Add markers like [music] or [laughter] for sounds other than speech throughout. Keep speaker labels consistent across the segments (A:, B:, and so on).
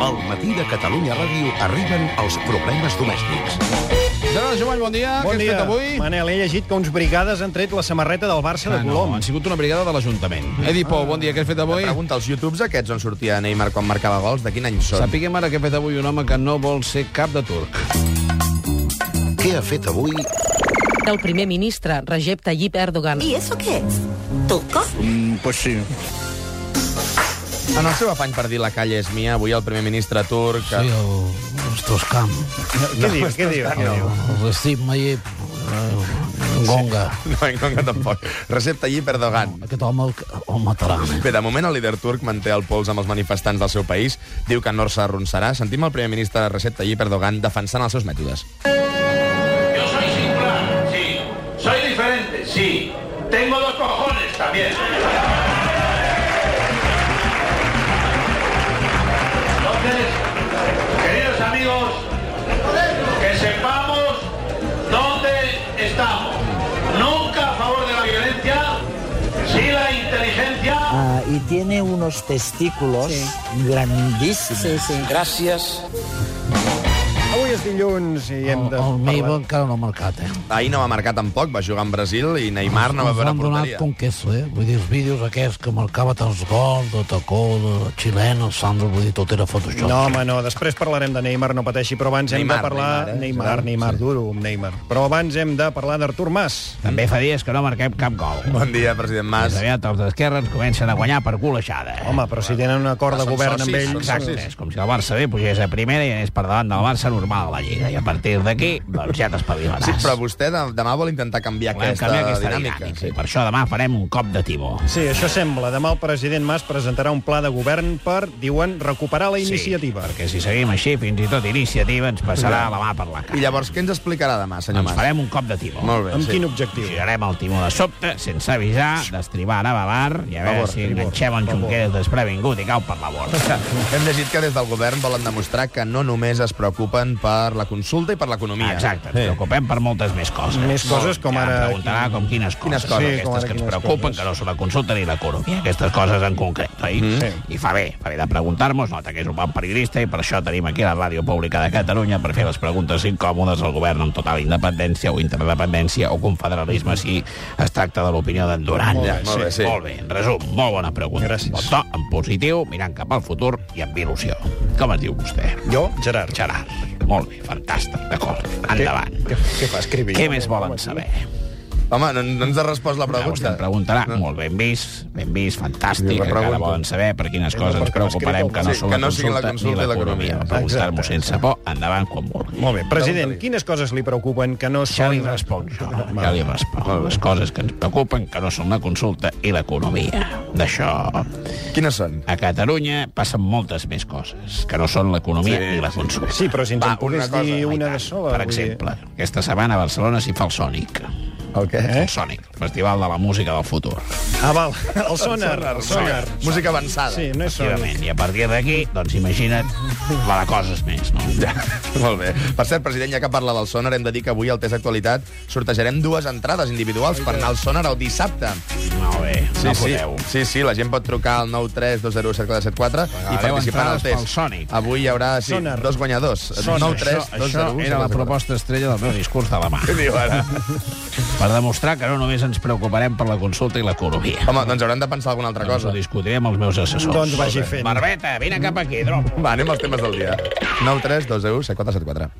A: Al matí de Catalunya Ràdio arriben els problemes domèstics.
B: Gerard Jovany, bon dia.
C: Bon
B: Què
C: dia.
B: has fet avui?
C: Manel, he llegit que uns brigades han tret la samarreta del Barça de
B: Ah, no,
C: Colom.
B: han sigut una brigada de l'Ajuntament. Edi Pou, bon dia, què has fet avui?
D: Mm. Pregunta als YouTubes aquests on sortia Neymar quan marcava gols, de quin any són?
B: Sapiguem ara què ha fet avui un home que no vol ser cap de turc.
A: Què ha fet avui
E: El primer ministre, Recep Tayyip Erdogan.
F: ¿Y eso qué es? ¿Turco?
D: En el seu afany per dir la calle és mia, avui el primer ministre turc... Sí, el...
G: Ostroscam,
C: Què diu? Què diu? Què diu?
G: Recep Mayep, eh, Gonga.
D: [laughs] No, en conca tampoc. Recep Tayyip Erdogan.
G: Aquest home el, el mataran. eh?
D: Bé, de moment el líder turc manté el pols amb els manifestants del seu país, diu que no s'arronsarà. Sentim el primer ministre Recep Tayyip Erdogan defensant els seus mètodes.
H: Yo soy singular, sí. Soy diferente, sí. Tengo dos cojones también. Entonces, queridos amigos, que sepamos dónde estamos. Nunca a favor de la violencia, sí la inteligencia.
I: Ah, y tiene unos testículos grandísimos.
H: Gracias.
C: Avui és dilluns i hem
G: El,
C: de...
G: el meu
C: parlar.
G: encara no ha marcat, eh?
D: Ahir no va marcar tampoc, va jugar amb Brasil i Neymar no va
G: Ens
D: veure
G: han donat
D: porteria.
G: com queso, eh? Vull dir, els vídeos aquests que marcava tants gols, de tacó, de xilena, el Sandro, vull dir, tot era Photoshop.
C: No, home, no. Després parlarem de Neymar, no pateixi, però abans hem
D: Neymar,
C: de parlar...
D: Neymar, eh?
C: Neymar,
D: Gerard,
C: Neymar,
D: sí.
C: duro amb Neymar. Però abans hem de parlar d'Artur Mas.
B: També fa dies que no marquem cap gol.
D: Bon dia, president Mas.
B: aviat els d'esquerra ens comencen a guanyar per culeixada.
C: Home, però si tenen un acord de
D: Són
C: govern amb
D: socis,
C: ell...
D: són
B: Exacte,
D: socis.
B: és com si el Barça B pugés a primera i anés per davant del Barça normal a la Lliga. I a partir d'aquí, doncs ja t'espavilaràs.
D: Sí, però vostè de- demà vol intentar canviar,
B: Volem
D: aquesta,
B: canviar aquesta
D: dinàmica.
B: I per això demà farem un cop de timó.
C: Sí, això sembla. Demà el president Mas presentarà un pla de govern per, diuen, recuperar la iniciativa.
B: Sí, perquè si seguim així, fins i tot iniciativa ens passarà la mà per la
D: I
B: cara.
D: llavors què ens explicarà demà, senyor
A: Doncs
B: Ens
D: Mas?
B: farem un cop de timó.
D: Molt bé,
C: Amb
D: sí.
C: quin objectiu?
B: Girarem el timó de sobte, sense avisar, destribant a Balar, i a veure
D: Favor,
B: si
D: favor,
B: enganxem el Junqueras desprevingut i cau per la borda.
D: Hem llegit que des del govern volen demostrar que no només es preocupen per la consulta i per l'economia.
B: Exacte, ens preocupem per moltes més coses.
C: Més coses com
B: ja
C: ara-
B: Em preguntarà com quines coses,
D: Quines coses,
B: sí,
C: com
B: aquestes
C: ara
B: que ens
C: quines
B: preocupen,
C: coses.
B: que no són la consulta ni l'economia, aquestes coses en concret, oi? Mm.
C: Sí.
B: I fa bé, fa bé de preguntar-nos, nota que és un bon periodista i per això tenim aquí la Ràdio Pública de Catalunya per fer les preguntes incòmodes al govern amb total independència o interdependència o confederalisme si es tracta de l'opinió d'en Duran.
D: Ja, molt bé, sí.
B: Molt bé, en resum, molt bona pregunta.
C: Gràcies.
B: Bon to, en positiu, mirant cap al futur i amb il·lusió. Com es diu vostè?
C: Jo, Gerard.
B: Gerard. Molt bé, fantàstic, d'acord. Endavant.
C: Què, què fa, escrivir?
B: Què més volen saber?
D: Home, no, no ens ha respost la
B: Vostè
D: pregunta.
B: em preguntarà, molt ben vist, ben vist, fantàstic,
D: Jo la
B: encara
D: pregunto.
B: volen saber per quines coses ens
C: perquè m'escriu
B: preocuparem
C: com
B: que no
D: sí,
B: són
D: que
B: la
D: no siguin la
B: consulta ni
D: consulta i
B: l'economia.
D: l'economia.
B: Preguntar-m'ho
C: Exacte.
B: sense por, endavant quan vulgui.
C: Molt bé. President, quines coses li preocupen que no
B: Ja li
C: són...
B: responc jo, ja li responc. Les coses que ens preocupen, que no són la consulta i l'economia. D'això...
D: Quines són?
B: A Catalunya passen moltes més coses, que no són l'economia sí, i la consulta.
C: Sí, però si ens
D: Va,
C: en pogués
D: una cosa,
C: dir
D: i
C: una
B: tant.
C: de sola...
B: Per
C: vull dir-
B: exemple, aquesta setmana a Barcelona s'hi fa el Sònic.
D: El què?
B: El Sònic, el Eh? Festival de la Música del Futur.
C: Ah, val. [laughs] El sonar, el sonar.
D: Música avançada.
C: Sí, no és sonar.
B: Efectivament. I a partir d'aquí, doncs imagina't la de coses més, no?
D: Ja, [laughs] molt bé. Per cert, president, ja que parla del Sónar, hem de dir que avui al Test Actualitat sortejarem dues entrades individuals per anar al Sónar el dissabte.
B: Molt bé, no podeu.
D: sí, sí, la gent pot trucar al 932017474 i
B: Regaleu
D: participar en el
B: entrades pel
D: test.
B: Sònic.
D: Avui hi haurà sí,
C: Sónar.
D: dos guanyadors.
C: Sónar.
B: Això, això
D: 932017474.
B: era la proposta estrella del meu discurs de la mà.
D: Què diu ara?
B: Per demostrar que no només ens preocuparem per la consulta i l'economia.
D: Home, doncs haurem de pensar alguna altra
B: Doncs
D: cosa.
B: ho discutiré amb els meus assessors.
C: Doncs vagi fent.
B: Barbeta, vine cap aquí, drop.
D: Va, anem als temes del dia. 9 3 2 0 7 4 7 4.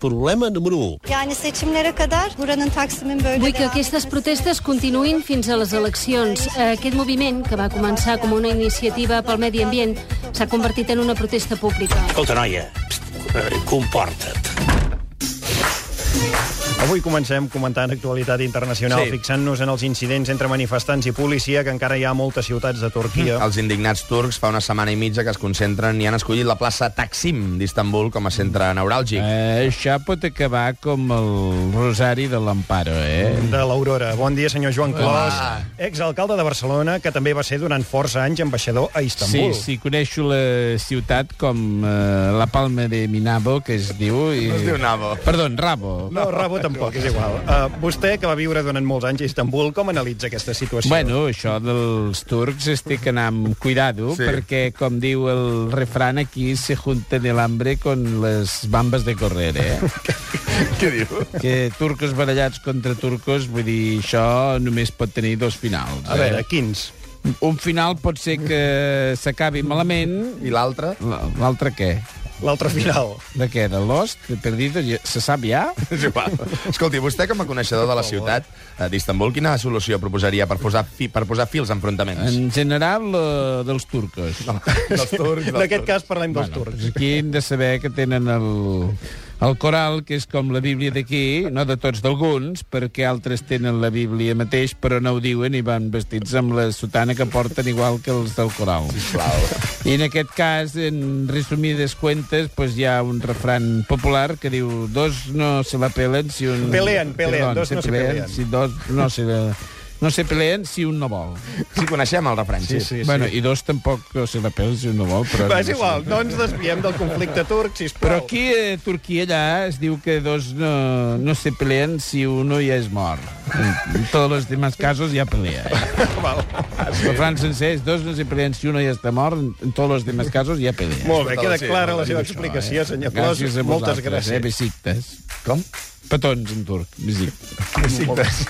A: Problema número 1.
F: Yani seçimlere kadar buranın Taksim'in böyle
J: Vull que
F: devam
J: aquestes
F: etmesi-
J: protestes continuïn fins a les eleccions. Eh, Aquest moviment, que va començar com una iniciativa pel medi ambient, s'ha convertit en una protesta pública.
G: Escolta, noia, comporta't.
C: Avui comencem comentant actualitat internacional,
D: Sí.
C: sí. fixant-nos en els incidents entre manifestants i policia, que encara hi ha a moltes ciutats de Turquia.
D: Els indignats turcs fa una setmana i mitja que es concentren i han escollit la plaça Taksim d'Istanbul com a centre neuràlgic.
B: Eh, això pot acabar com el rosari de l'Amparo, eh?
C: de l'Aurora. Bon dia, senyor Joan Clos,
D: Hola.
C: exalcalde de Barcelona, que també va ser durant força anys ambaixador a Istanbul.
G: Sí, sí, coneixo la ciutat com eh, la Palma de Minabo, que es diu... I...
D: No es diu Nabo.
G: Perdó, Rabo.
C: No, Rabo tampoc, és igual. Uh, vostè, que va viure durant molts anys a Istanbul, com analitza aquesta situació?
K: Bueno, això dels turcs es té que anar amb cuidado, sí. perquè, com diu el refran, aquí se junten el hambre con les bambes de correr, eh?
D: Què diu?
K: Que turcos barallats contra turcos, vull dir, això només pot tenir dos finals. eh?
C: A veure, Eh, quins?
K: Un final pot ser que s'acabi malament...
D: I l'altre?
K: L'altre què?
C: L'altre final.
K: De què? De Lost? De Perdidos? Ja- Se sap ja?
D: És igual. Escolti, vostè com a coneixedor de la ciutat eh, d'Istanbul, quina solució proposaria per posar, fi, per posar fi als enfrontaments?
K: En general, eh, dels turcos. No.
D: Dels
C: [laughs]
D: turcs,
C: En aquest cas parlem dels turcs.
K: Doncs aquí hem de saber que tenen el, el coral, que és com la Bíblia d'aquí, no de tots d'alguns, perquè altres tenen la Bíblia mateix, però no ho diuen i van vestits amb la sotana que porten igual que els del coral. I en aquest cas, en resumides cuentes, pues, hi ha un refran popular que diu dos no se la pelen si un...
C: Peleen, peleen, dos
K: se
C: no se peleen.
K: Si dos no se... No se peleen si un no vol.
D: Sí, coneixem el refrany, sí.
C: sí, sí.
K: bueno, I dos tampoc no se la pelen si un no vol. Però
C: Va, és igual, no ens desviem del conflicte turc, sisplau.
K: Però aquí a Turquia allà es diu que dos no, no se peleen si uno ja és mort. En, en tots els demás casos ja pelea. Eh?
C: [laughs] Val.
K: El Fran sencer és dos no se peleen si uno ja està mort, en, en tots els demás casos ja pelea.
C: Molt
B: tota
C: bé, queda
D: Sí,
C: clara la
D: molt bé,
C: seva
D: això,
B: eh?
C: explicació, senyor Clos.
K: Gràcies a
C: Moltes
K: vosaltres,
C: gràcies.
K: Eh, besites.
D: Com?
K: Petons en turc, besites.
D: Visites.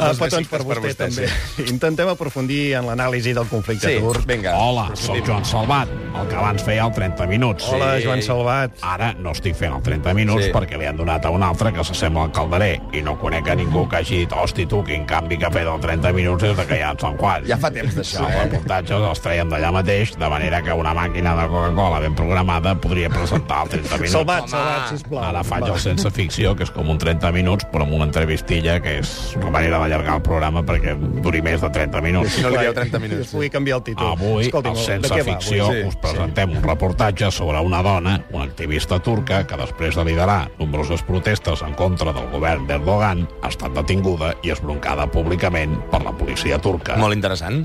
C: Ah,
D: Doncs
C: petons
D: besitos
C: per vostè,
D: per vostè,
C: també. Intentem aprofundir en l'anàlisi del conflicte
D: Sí,
C: turc.
D: vinga.
B: Oh.
L: Hola, sóc Joan Salvat, el que abans feia el 30 minuts.
C: Hola, Joan Salvat.
L: Ara no estic fent el 30 minuts
D: Sí.
L: sí. perquè li han donat a un altre que s'assembla al calderer i no conec a ningú que hagi dit hosti tu, quin canvi que ha fet el 30 minuts des de que hi ha en Sant Juan.
D: Ja fa temps d'això,
L: Els
D: eh?
L: reportatges els traiem d'allà mateix, de manera que una màquina de Coca-Cola ben programada podria presentar el 30 minuts.
C: Salvat,
D: Home.
C: Salvat, sisplau.
L: Ara faig
C: Va.
L: el sense ficció, que és com un 30 minuts, però amb una entrevistilla, que és una manera d'allargar el programa perquè duri més de 30 minuts.
D: No li dieu
C: Clar,
D: 30 minuts.
C: Es pugui canviar el títol.
L: Avui,
C: Escolti,
L: al
C: de
L: Sense
C: què va, avui?
L: Ficció,
D: Sí,
C: [laughs]
L: us presentem un reportatge sobre una dona, una activista turca, que després de liderar nombroses protestes en contra del govern d'Erdogan, ha estat detinguda i esbroncada públicament per la policia turca.
D: Molt interessant.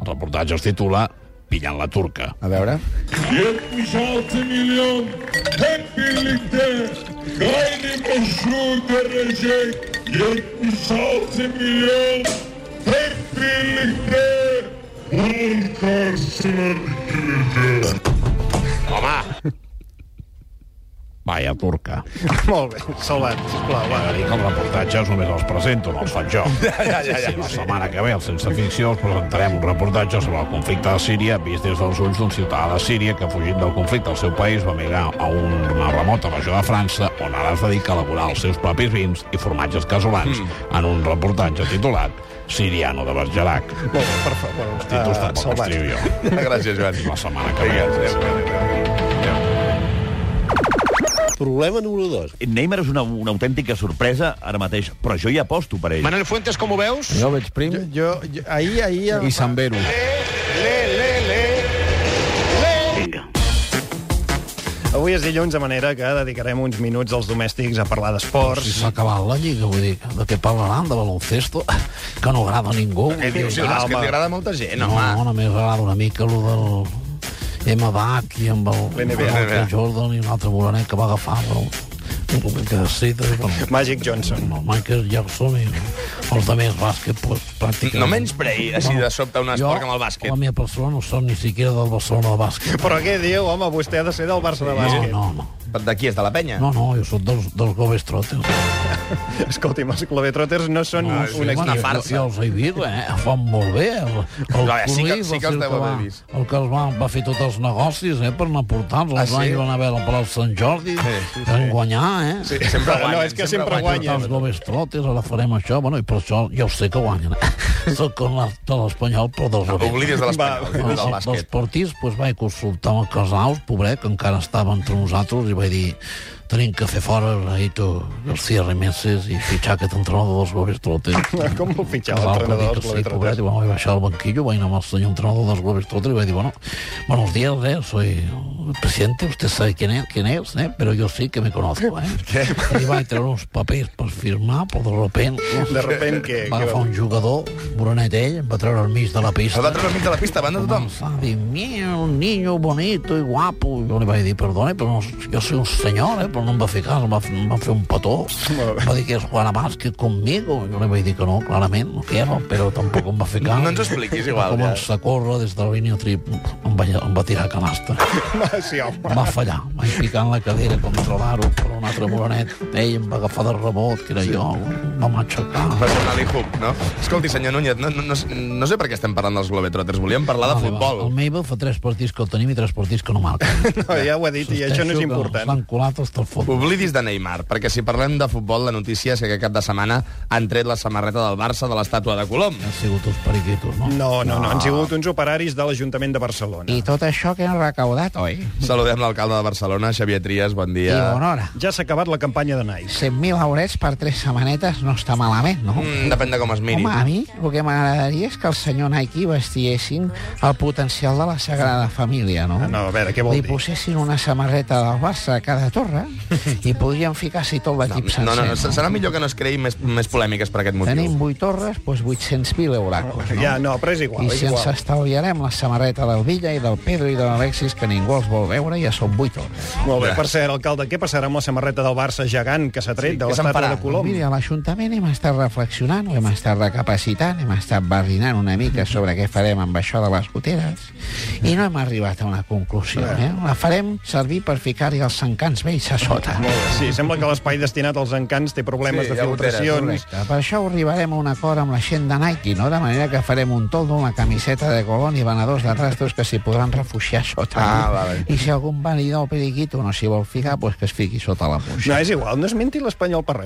L: El reportatge es titula Pillant la turca.
D: A veure.
H: 76 milyon hep birlikte gayrimeşru görecek 76 milyon hep birlikte bunun karşısına dikilecek.
L: Vaya turca.
C: Molt bé, Salvat, sisplau, va.
L: Que els reportatges només els presento, no els faig jo.
D: ja, ja, ja.
L: Sí, la setmana que ve, al Sense Ficció, us presentarem un reportatge sobre el conflicte de Síria vist des dels ulls d'un ciutadà de Síria que, fugint del conflicte al seu país, va migrar a una remota regió de França on ara es dedica a elaborar els seus propis vins i formatges casolans
D: Hmm.
L: en un reportatge titulat Siriano de Bergerac.
C: Molt bé, per favor.
L: Els títols
C: eh,
L: tampoc els
C: Salvat.
L: trio jo.
D: Ah, [laughs] Gràcies, Joan.
L: La setmana que ve.
D: Vinga, adéu, adéu, adéu. adéu.
M: Problema número 2.
N: Neymar és una, una autèntica sorpresa ara mateix, però jo hi aposto per ell.
O: Manel Fuentes, com ho veus?
K: Jo veig prim
B: Jo, jo ahir, ahir...
K: i Sambero.
C: Avui és dilluns, de manera que dedicarem uns minuts als domèstics a parlar d'esports.
B: Si s'ha acabat la lliga, vull dir, de què parlaran, de baloncesto, que no agrada a ningú.
D: Què dius, si el
C: Va,
D: bàsquet
C: home.
D: li agrada a molta gent,
B: No,
D: home.
B: no, només agrada una mica lo del M. Bach i amb el, amb
C: NBA.
B: el Michael Jordan i un altre bolonet que va agafar però, un que sí, de, bueno,
C: Magic Johnson.
B: amb el Michael Jackson i els de més bàsquet, pues, pràcticament...
D: No menysprei, així de sobte, un esport com el bàsquet.
B: Jo, la meva persona, no som ni siquiera del Barcelona de bàsquet.
C: Però què diu, home, vostè ha de ser del Barça de
B: No,
C: bàsquet.
B: no, no.
D: De qui és, de la penya?
B: No, no, jo soc dels, dels Globetrotters.
C: Escolti'm, els Globetrotters no són
B: No,
C: un
B: bueno,
C: equip.
D: farsa.
B: Jo, jo els he vist, eh? Fan molt bé. El, el
D: No, sí que-
B: Cruyff
D: sí que
B: va
D: els
B: ser
D: deu
B: el
D: haver
B: va-
D: vist.
B: El que els va, va fer tots els negocis, eh? Per anar portant-los.
D: Ah,
B: Els
D: sí?
B: anys van haver al Palau Sant Jordi. Sí, sí, sí. Van guanyar, eh?
D: Sí, sempre
C: No,
D: guanyen.
C: és que sempre guanyen.
B: Els Globetrotters, ara farem això. Bueno, i per això ja ho sé que guanyen.
D: [laughs]
B: Soc com la, de l'Espanyol, però dels
D: No
B: Globetrotters.
D: t'oblidis
C: Va,
D: de l'espanyol,
B: Els-
D: del
B: els- dels
D: bàsquet.
B: partits pues, vaig consultar amb el Casaus, pobret, que encara estava entre nosaltres, i vaig dir tenim que fer fora Raito García Remeses i fitxar aquest entrenador dels Globes Trotter.
D: [laughs]
C: [laughs] Com el fitxava
B: Casals va dir
C: l'entrenador
B: que
C: dels
B: sí, pobret,
C: Globetrotters?
B: i bueno, vaig baixar al banquillo, vaig anar amb el senyor entrenador dels Globes Trotter i vaig dir, bueno, buenos días, eh, soy el presidente, usted sabe quién es, quién es eh, pero yo sí que me conozco, eh. I vaig treure uns papers per firmar, però de repente...
C: De repent, què?
B: Va
C: què
B: agafar un jugador, Brunet ell, em va treure al mig de la pista.
D: El va treure al mig de la pista, davant de tothom.
B: Començar a dir, mira, un niño bonito y guapo. Jo li vaig dir, perdone, però no, jo soy un senyor, eh?
P: però no em va fer cas, em va, fer- em va fer un petó. Em va dir que és Juana Vázquez conmigo. Jo li vaig dir que no, clarament, no quiero, però tampoc em va fer cas.
D: No ens expliquis igual,
P: Va
D: ja.
P: començar a córrer des de la línia trip. Em va, em va tirar a canasta.
C: Sí, home.
P: Em va fallar, em vaig ficar en la cadera contra l'aro per un altre morenet. Ell em va agafar de rebot, que era sí. jo, em va aixecar.
D: Va ser un alihub, no? Escolti, senyor Núñez, no, no, no, no sé per què estem parlant dels Globetrotters. Volíem parlar de
P: Vale, va.
D: futbol.
P: El Mabel fa tres partits que el tenim i tres partits que no marquen.
D: [laughs]
C: No, ja ho he dit, i això no és important.
P: S'han colat hasta el fons.
D: Oblidis de Neymar, perquè si parlem de futbol, la notícia és que aquest cap de setmana han tret la samarreta del Barça de l'estàtua de Colom.
P: Han sigut uns periquitos, no?
C: No, no, no, han sigut uns operaris de l'Ajuntament de Barcelona.
D: I tot això que han recaudat, oi? Saludem l'alcalde de Barcelona, Xavier Trias, bon dia.
C: I
D: bon
B: hora.
C: Ja s'ha acabat la campanya de Nike.
B: 100.000 haurets per tres setmanetes no està malament, no?
D: Mm, depèn de com es miri.
B: Home, a mi el que m'agradaria és que el senyor Nike vestiessin el potencial de la Sagrada Família, no?
C: Ah, No, a veure, què vol
B: Li
C: dir?
B: posessin una samarreta del Barça a cada torre i podrien ficar-s'hi tot l'equip
D: No, no,
B: sencer.
D: no, serà millor que no es creï més, més polèmiques per aquest motiu.
B: Tenim 8 torres, doncs 800.000 euracos, no?
C: Ja, no, però és igual,
B: I
C: és
B: si ens
C: igual.
B: estalviarem la samarreta del Villa i del Pedro i de l'Alexis, que ningú els vol veure, ja són 8 torres.
C: Molt bé, per cert, alcalde, què passarà amb la samarreta del Barça gegant que s'ha tret sí, de l'estàtua de Colom?
B: Mira, a l'Ajuntament hem estat reflexionant, ho hem estat recapacitant, hem estat barrinant una mica sobre què farem amb això de les goteres i no hem arribat a una conclusió. Eh? La farem servir per ficar-hi els encants vells a sota.
C: Molt bé, sí, sembla que l'espai destinat als encants té problemes
B: Sí,
C: de
B: hi ha goteres,
C: filtracions.
B: correcte. Per això arribarem a un acord amb la gent de Nike, no? De manera que farem un toldo, una camiseta de colón i venedors de trastos que s'hi podran refugiar sota.
D: Ah, vale.
B: I si algun venidor periquito no s'hi vol ficar, doncs que es fiqui sota la punxa.
C: No, és igual, no es menti l'espanyol per res.